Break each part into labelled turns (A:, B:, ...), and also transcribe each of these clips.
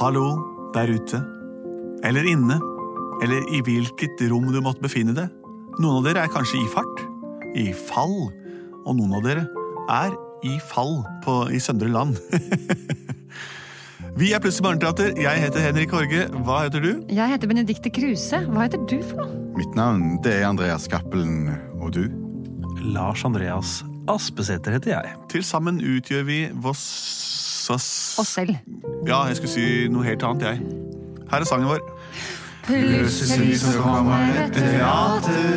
A: Hallo der ute. Eller inne. Eller i hvilket rom du måtte befinne deg. Noen av dere er kanskje i fart. I fall. Og noen av dere er i fall på, i Søndre Land. Vi er Plutselig barneteater. Jeg heter Henrik Horge. Hva heter du?
B: Jeg heter Benedikte Kruse. Hva heter du for noe?
C: Mitt navn det er Andreas Cappelen, og du?
D: Lars Andreas Aspesæter heter jeg.
A: Til sammen utgjør vi Voss...
B: Oss selv.
A: Ja, jeg skulle si noe helt annet, jeg. Her er sangen vår.
C: Plutselig så kommer det teater.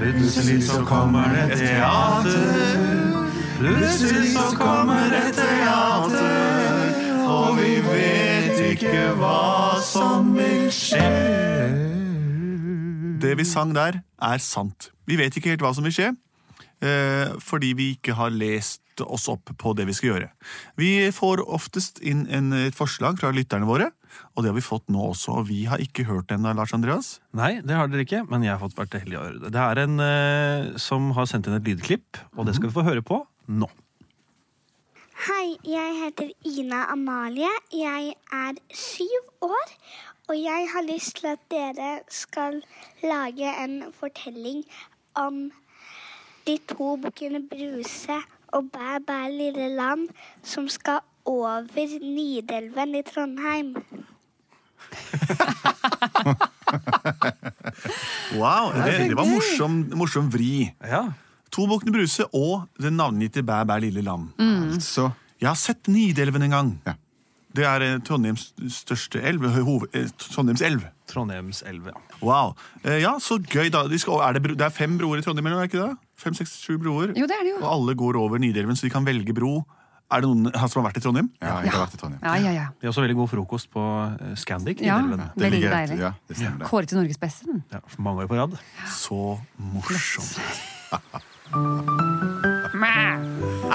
C: Plutselig så kommer det teater. Plutselig så kommer det teater. Og vi vet ikke hva som vil skje.
A: Det vi sang der, er sant. Vi vet ikke helt hva som vil skje, eh, fordi vi ikke har lest oss opp på det vi skal gjøre. Vi får oftest inn en, et forslag fra lytterne våre, og det har vi fått nå også. Og vi har ikke hørt den av Lars Andreas.
D: Nei, det har dere ikke, men jeg har fått vært det heldige å høre det. Det er en eh, som har sendt inn et lydklipp, og det skal vi få høre på nå.
E: Hei, jeg heter Ina Amalie. Jeg er syv år, og jeg har lyst til at dere skal lage en fortelling om de to bukkene Bruse og Bæ bæ lille lam som skal over Nidelven i Trondheim.
A: Wow, Det, det var morsom, morsom vri.
D: Ja,
A: To Bukkene Bruse og den navngitte Bæ bæ lille lam.
C: Så
A: Jeg har sett Nidelven en gang.
C: Ja.
A: Det er eh, Trondheims største elv. Hoved, eh, Trondheims elv.
D: Trondheimselva.
A: Wow. Eh, Ja, så gøy da. De skal, er det, bro- det er fem broer i Trondheim, eller er det ikke det? Fem, seks, sju broer.
B: Jo, det er det jo.
A: Og alle går over Nidelven, så de kan velge bro. Er det noen her som har vært i Trondheim?
C: Ja, jeg har vært i Trondheim.
B: Ja, ja, ja.
D: De har også veldig god frokost på eh, Scandic.
B: Ja.
D: Nidelven.
C: Det
B: Veldig
C: ligger rett-
B: deilig.
C: Ja, det stemmer det.
B: Kåret til Norges beste, den.
D: Ja, for mange år på rad.
A: Så morsomt.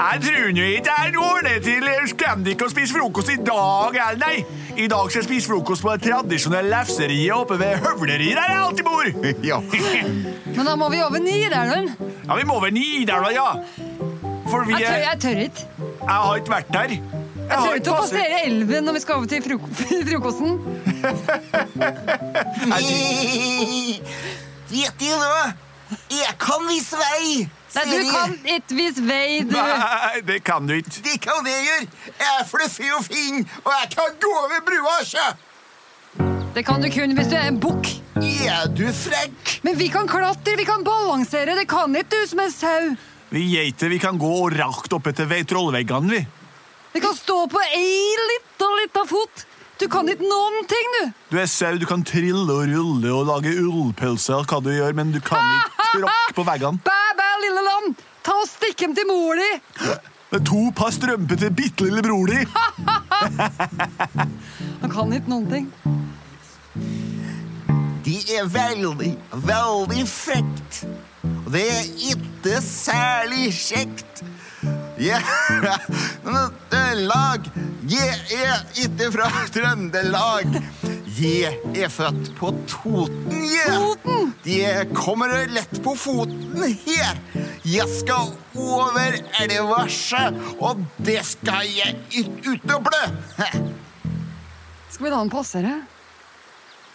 A: Jeg tror nå ikke jeg når det til Scandic og spiser frokost i dag, eller nei. I dag skal jeg spise frokost på det tradisjonelle lefseriet oppe ved Høvleri, der jeg alltid bor.
C: Ja.
B: Men da må vi over Nidelven.
A: Ja, vi må over Nidelva, ja. For vi
B: Jeg tør,
A: er
B: jeg tør ikke.
A: Jeg har ikke vært der. Jeg
B: Jeg
A: har ikke
B: tør ikke å
A: passet-
B: passere elven når vi skal over til frok frokosten.
F: Vet du hva? Jeg kan vise vei!
B: Nei, du
F: sier de.
B: kan ikke vise vei, du.
A: Nei, det kan du ikke.
F: Det kan jeg gjøre! Jeg er fluffy og fin, og jeg kan gå over brua, sjø!
B: Det kan du kun hvis du er en bukk.
F: Er du frekk?
B: Men vi kan klatre, vi kan balansere. Det kan ikke du som en sau.
A: Vi geiter vi kan gå rakt opp etter ve- trollveggene, vi.
B: Vi kan stå på ei lita, lita fot. Du kan ikke noen ting, du.
A: Du er sau, du kan trille og rulle og lage ullpølse og hva du gjør, men du kan ikke tråkke på veggene.
B: Bæ, bæ, lille lam. Ta og Stikk dem til mor di!
A: Det er to par strømpete bitte lille bror di.
B: Han kan ikke noen ting.
F: De er veldig, veldig frekt. Og det er ikke særlig kjekt. Jeg Trøndelag. Jeg er ikke fra Trøndelag. Jeg er født på Toten, jeg.
B: Toten?
F: Jeg kommer lett på foten her. Jeg skal over elva, sjø, og det skal jeg ikke ut og blø.
B: Skal vi la han passere?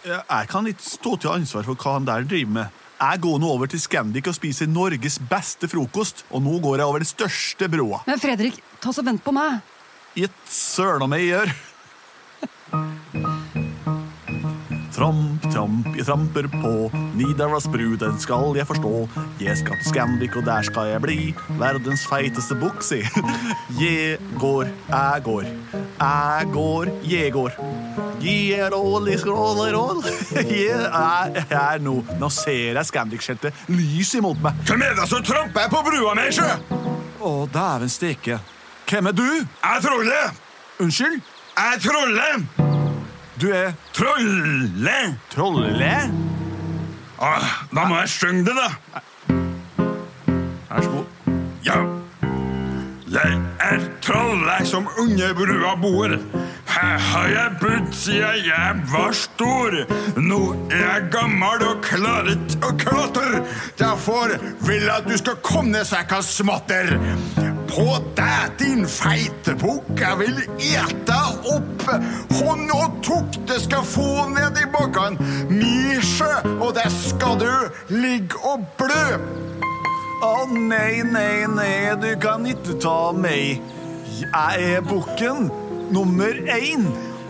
A: Jeg kan ikke stå til ansvar for hva han der driver med. Jeg går nå over til Scandic og spiser Norges beste frokost, og nå går jeg over den største broa.
B: Men Fredrik, ta så vent på meg.
A: Gitt søren om jeg gjør. Tramp, tramp, jeg tramper på. Nidaros bru, den skal jeg forstå. Jeg skal til Scandic, og der skal jeg bli. Verdens feiteste bukk, si. Jeg går, jeg går. Jeg går, jeg går. Jeg roll, jeg skrål, jeg roll. Jeg er her nå. Nå ser jeg Scandic-skiltet lys imot meg.
G: Hvem er det som tramper på brua mi, sjø?
A: Å, dæven steke. Hvem er du?
G: Jeg troller!
A: Unnskyld?
G: Jeg troller!
A: Du er
G: Trolle!
A: Trolle?
G: Ah, da må jeg synge det, da.
A: Vær så god.
G: Ja. Jeg er trollet som under brua bor. Her har jeg bodd siden jeg var stor. Nå er jeg gammel og klarer ikke å klatre.
C: Derfor vil jeg at du skal komme ned så jeg kan smatter.
G: På deg, din feite bukk, jeg vil ete opp
C: oppe. Hånd og tok, det skal få ned i bakken. Mi sjø, og der skal du ligge og blø.
A: Å nei, nei, nei, du kan ikke ta meg. Jeg er bukken nummer én.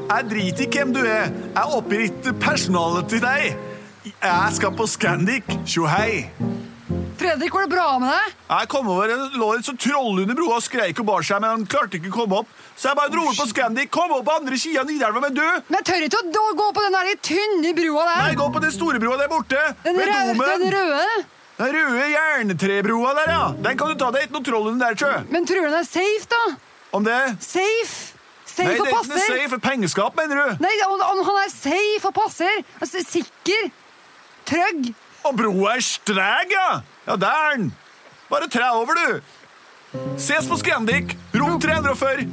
A: Jeg driter i hvem du er. Jeg oppgir ikke personalet til deg. Jeg skal på Scandic. Tjo hei.
B: Fredrik, går det bra med deg?
A: Jeg kom over en lå en sånn troll under broa og skreik og bar seg, men han klarte ikke å komme opp. Så jeg bare dro over på Scandic. Kom opp på andre sida av Nidelva, men du
B: Men jeg tør ikke å d- gå på den der tynne brua der.
A: Nei, gå på den store broa der borte.
B: den,
A: ved
B: røde,
A: domen.
B: den røde.
A: Den røde jerntrebroa der, ja. Den kan du ta. Det er ikke noe troll under der, sjø.
B: Men tror du den er safe, da?
A: Om det
B: Safe?
A: Nei,
B: Safe
A: det er
B: og
A: ikke noe
B: passer?
A: safe. Pengeskap, mener du?
B: Nei, om, om han er safe og passer? Altså, sikker? Trygg?
A: Og broa er streg, ja! Ja, der er den! Bare træ over, du! Ses på Scandic, rom 340.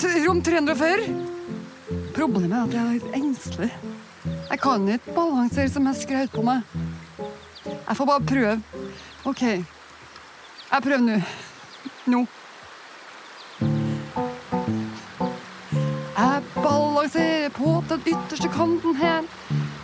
B: T- Rom 340? Problemet er at jeg er litt engstelig. Jeg kan ikke balansere som jeg skraut på meg. Jeg får bare prøve. OK. Jeg prøver nå. Nå. Jeg balanserer på den ytterste kanten her.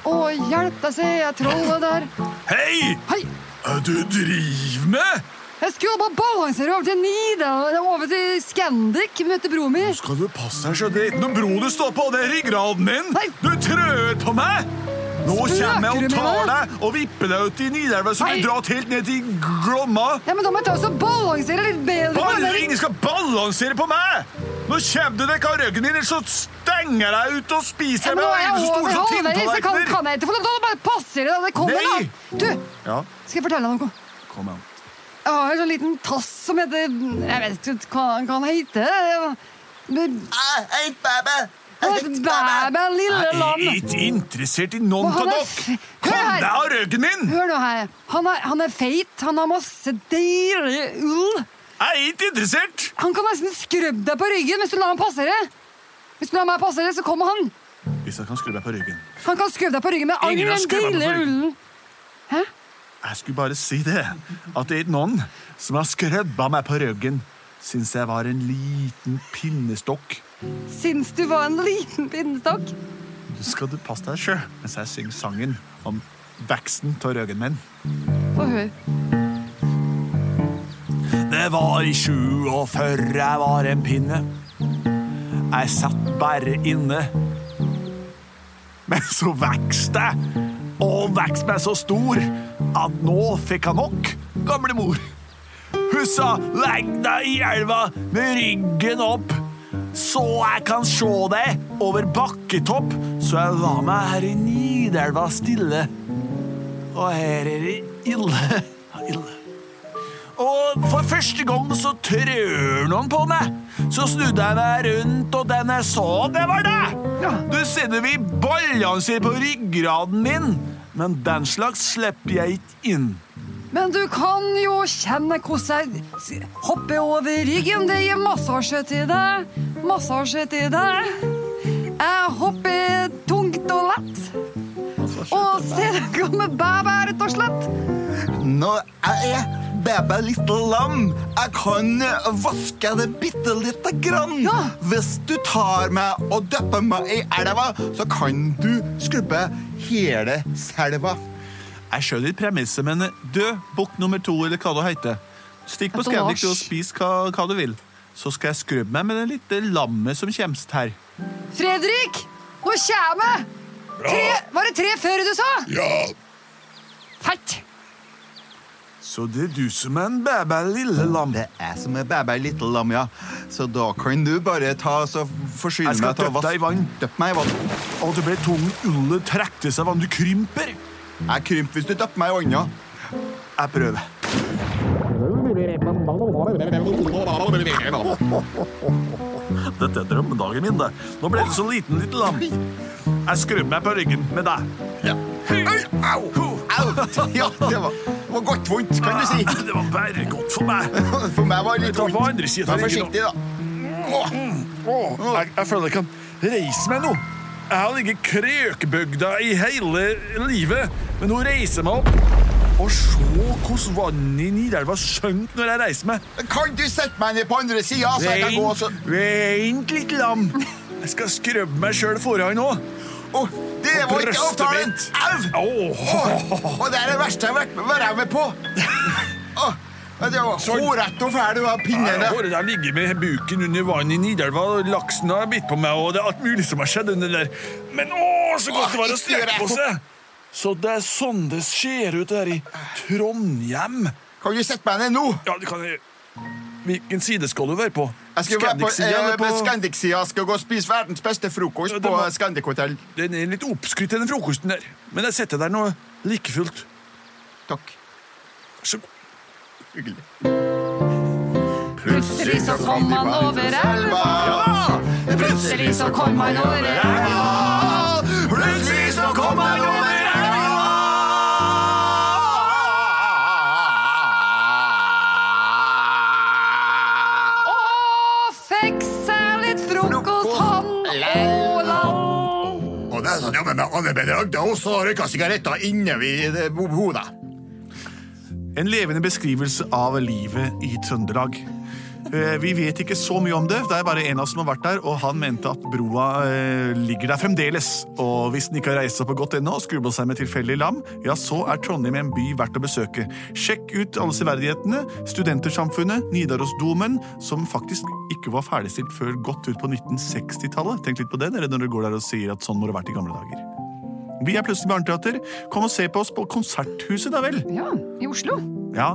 B: Og hjelp, der ser jeg trollet der.
A: Hei!
B: Hei!
A: Hva du driver med?
B: Jeg skulle bare balansere over til Nida, over til Scandic, møtte broren min.
A: Skal du passe deg, så det er ikke noen bro du står på, det er ryggraden min!
B: Nei.
A: Du trør på meg! Nå
B: Spøker
A: kommer jeg og
B: du med
A: tar
B: meg?
A: deg og vipper deg ut i Nidelva så
B: Nei.
A: du drar helt ned til Glomma.
B: Ja, men da må jeg ta oss og balansere litt bedre. på den
A: Bare
B: der-
A: ingen skal balansere på meg! Nå kommer du deg av ryggen din, eller så stenger jeg ut og
B: Ja,
A: spiser
B: men nå er
A: deg med
B: jeg over
A: øynene så store som
B: halvveis, så kan,
A: tinntallerkener!
B: kan jeg ikke få lov til å bare passere da det kommer,
A: Nei.
B: da. Du,
A: Ja,
B: skal jeg fortelle deg noe?
A: kom igjen.
B: Jeg har en sånn liten tass som heter Jeg vet ikke hva han kan hete. Men-
F: Ah, Hei, bæbæ.
B: Han heter Bæbæ, lille lam.
A: Jeg er ikke interessert i noen
B: Men
A: av
B: han er
A: dere!
B: f-
A: Kom
B: Hør her.
A: deg av ryggen min!
B: Hør nå her. Han er, han er feit, han har masse deilig ull.
A: Jeg er ikke interessert!
B: Han kan nesten skrubbe deg på ryggen hvis du lar han passere. Hvis du lar meg passere, så kommer han.
A: Hvis jeg kan skru meg på ryggen.
B: Han kan skrubbe deg på ryggen med all
A: Ingen har
B: den
A: skrubbet meg på
B: deilige
A: ryggen.
B: ullen.
A: Jeg skulle bare si det, at det er ikke noen som har skrøbba meg på ryggen Syns jeg var en liten pinnestokk.
B: Syns du var en liten pinnestokk?
A: Nå skal du passe deg sjøl mens jeg synger sangen om veksten av ryggen min.
B: Få høre.
A: Det var i 47 jeg var en pinne. Jeg satt bare inne. Men så vokste jeg, og vokste meg så stor, at nå fikk jeg nok, gamle mor. Hun sa 'legg deg i elva med ryggen opp', så jeg kan se deg over bakketopp. Så jeg la meg her i Nidelva stille, og her er det ille. ille. Og for første gang så trør noen på meg. Så snudde jeg meg rundt, og den jeg så, det var deg! Du ser det vi balanserer på ryggraden min, men den slags slipper jeg ikke inn.
B: Men du kan jo kjenne hvordan jeg s- hopper over ryggen. Det gir massasje til deg, massasje til deg. Jeg hopper tungt og lett. Og se det kommer bæbæ, rett og slett.
F: Nå er jeg bæbæ lite lam. Jeg kan eh, vaske det bitte lite grann.
B: Ja.
F: Hvis du tar meg og døpper meg i elva, så kan du skrubbe hele selva.
A: Jeg skjønner ikke premisset, men du, bukk nummer to, eller hva du heter, stikk på
B: Etter
A: Scandic
B: Lars.
A: og spis hva, hva du vil. Så skal jeg skrubbe meg med det lille lammet som kommer her.
B: Fredrik, nå kommer jeg. Tre, var det tre før du sa?
G: Ja,
B: Fett.
A: Så det er du som er en bæbæ, lille lam.
F: Det er som er bæbæ lite lam, ja. Så da kan du bare ta så forsyne
A: Jeg skal
F: meg til å
A: døppe
F: vas-
A: deg i vann.
F: Døpp meg i vann.
A: Og det ble tung ulle trekte seg vann. Du krymper.
F: Jeg krymper hvis du døpper meg i vannet.
A: Jeg prøver. Dette er drømmedagen min, det. Nå ble det så liten, liten lam. Jeg skrur meg på ryggen med deg.
F: Au! Au! Ja, det var, det var godt vondt, kan du si.
A: Det var bare godt for meg.
F: For meg var det litt
A: Ta på
F: vondt.
A: andre siden av
F: Vær
A: ryggen nå.
F: forsiktig, da.
A: Åh, jeg, jeg føler jeg kan reise meg nå. Jeg har ligget krøkbygda i hele livet, men nå reiser jeg meg opp. Og se hvordan vannet i Nidelva sjønk når jeg reiser meg.
F: Kan du sette meg ned på andre sida, så jeg kan gå så
A: Vent litt, lam. Jeg skal skrubbe meg sjøl foran nå.
F: Å, det var ikke
A: brøstet
F: avtalen!
A: mitt.
F: Au! Å, og det er det verste jeg har vært, vært med på. Å, det var hårrett og fæl du var, pinnene.
A: Håret der ligger med buken under vannet i Nidelva, og laksen har bitt på meg, og det er alt mulig som har skjedd under der. Men å, så godt det var å
F: Åh, ikke gjør
A: strekke
F: det.
A: på seg! Så det er sånn det ser ut her i Trondheim.
F: Kan du sette meg ned nå?
A: Ja, det kan jeg Hvilken side skal du være på?
F: Jeg skal være på
A: Scandic-siden eller
F: eh, Scandic-sida. Skal gå og spise verdens beste frokost
A: Ja, det
F: på
A: må-
F: Scandic hotell.
A: Den er litt oppskrytt, den frokosten der. Men jeg setter der nå like fullt.
F: Takk.
A: Så
F: Hyggelig.
B: Plutselig så kom han over elva. Plutselig så kom han over elva.
F: Plutselig så kom han over elva.
B: Og fikk seg litt frokost, han og lall.
C: Og det er sånn, ja, men med andre bedre, og så røyka sigaretter inne ved eh, bo- hodet.
A: En levende beskrivelse av livet i Trøndelag. Eh, Vi vet ikke så mye om det. Det er bare en av oss som har vært der, og han mente at broa eh, ligger der fremdeles. Og hvis den ikke har reist seg på godt ennå og skrubba seg med tilfeldig lam, ja, så er Trondheim en by verdt å besøke. Sjekk ut alle severdighetene, Studentersamfunnet, Nidarosdomen, som faktisk ikke var ferdigstilt før godt ut på 1960-tallet. Tenk litt på det dere når dere går der og sier at sånn må det ha vært i gamle dager. Vi er plutselig barneteater. Kom og se på oss på Konserthuset, da vel.
B: Ja, i Oslo.
A: Ja.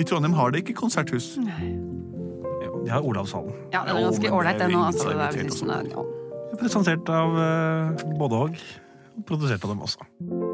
A: I Trondheim har det ikke konserthus.
D: Jeg har Olavshallen.
B: Ja, det er
A: Jo,
B: ganske
A: men
B: ålreit,
A: det er
B: det nå.
A: jo
B: Altså, det er
A: invitert
B: liksom, ja.
D: Presentert av eh, både og. Produsert av dem også.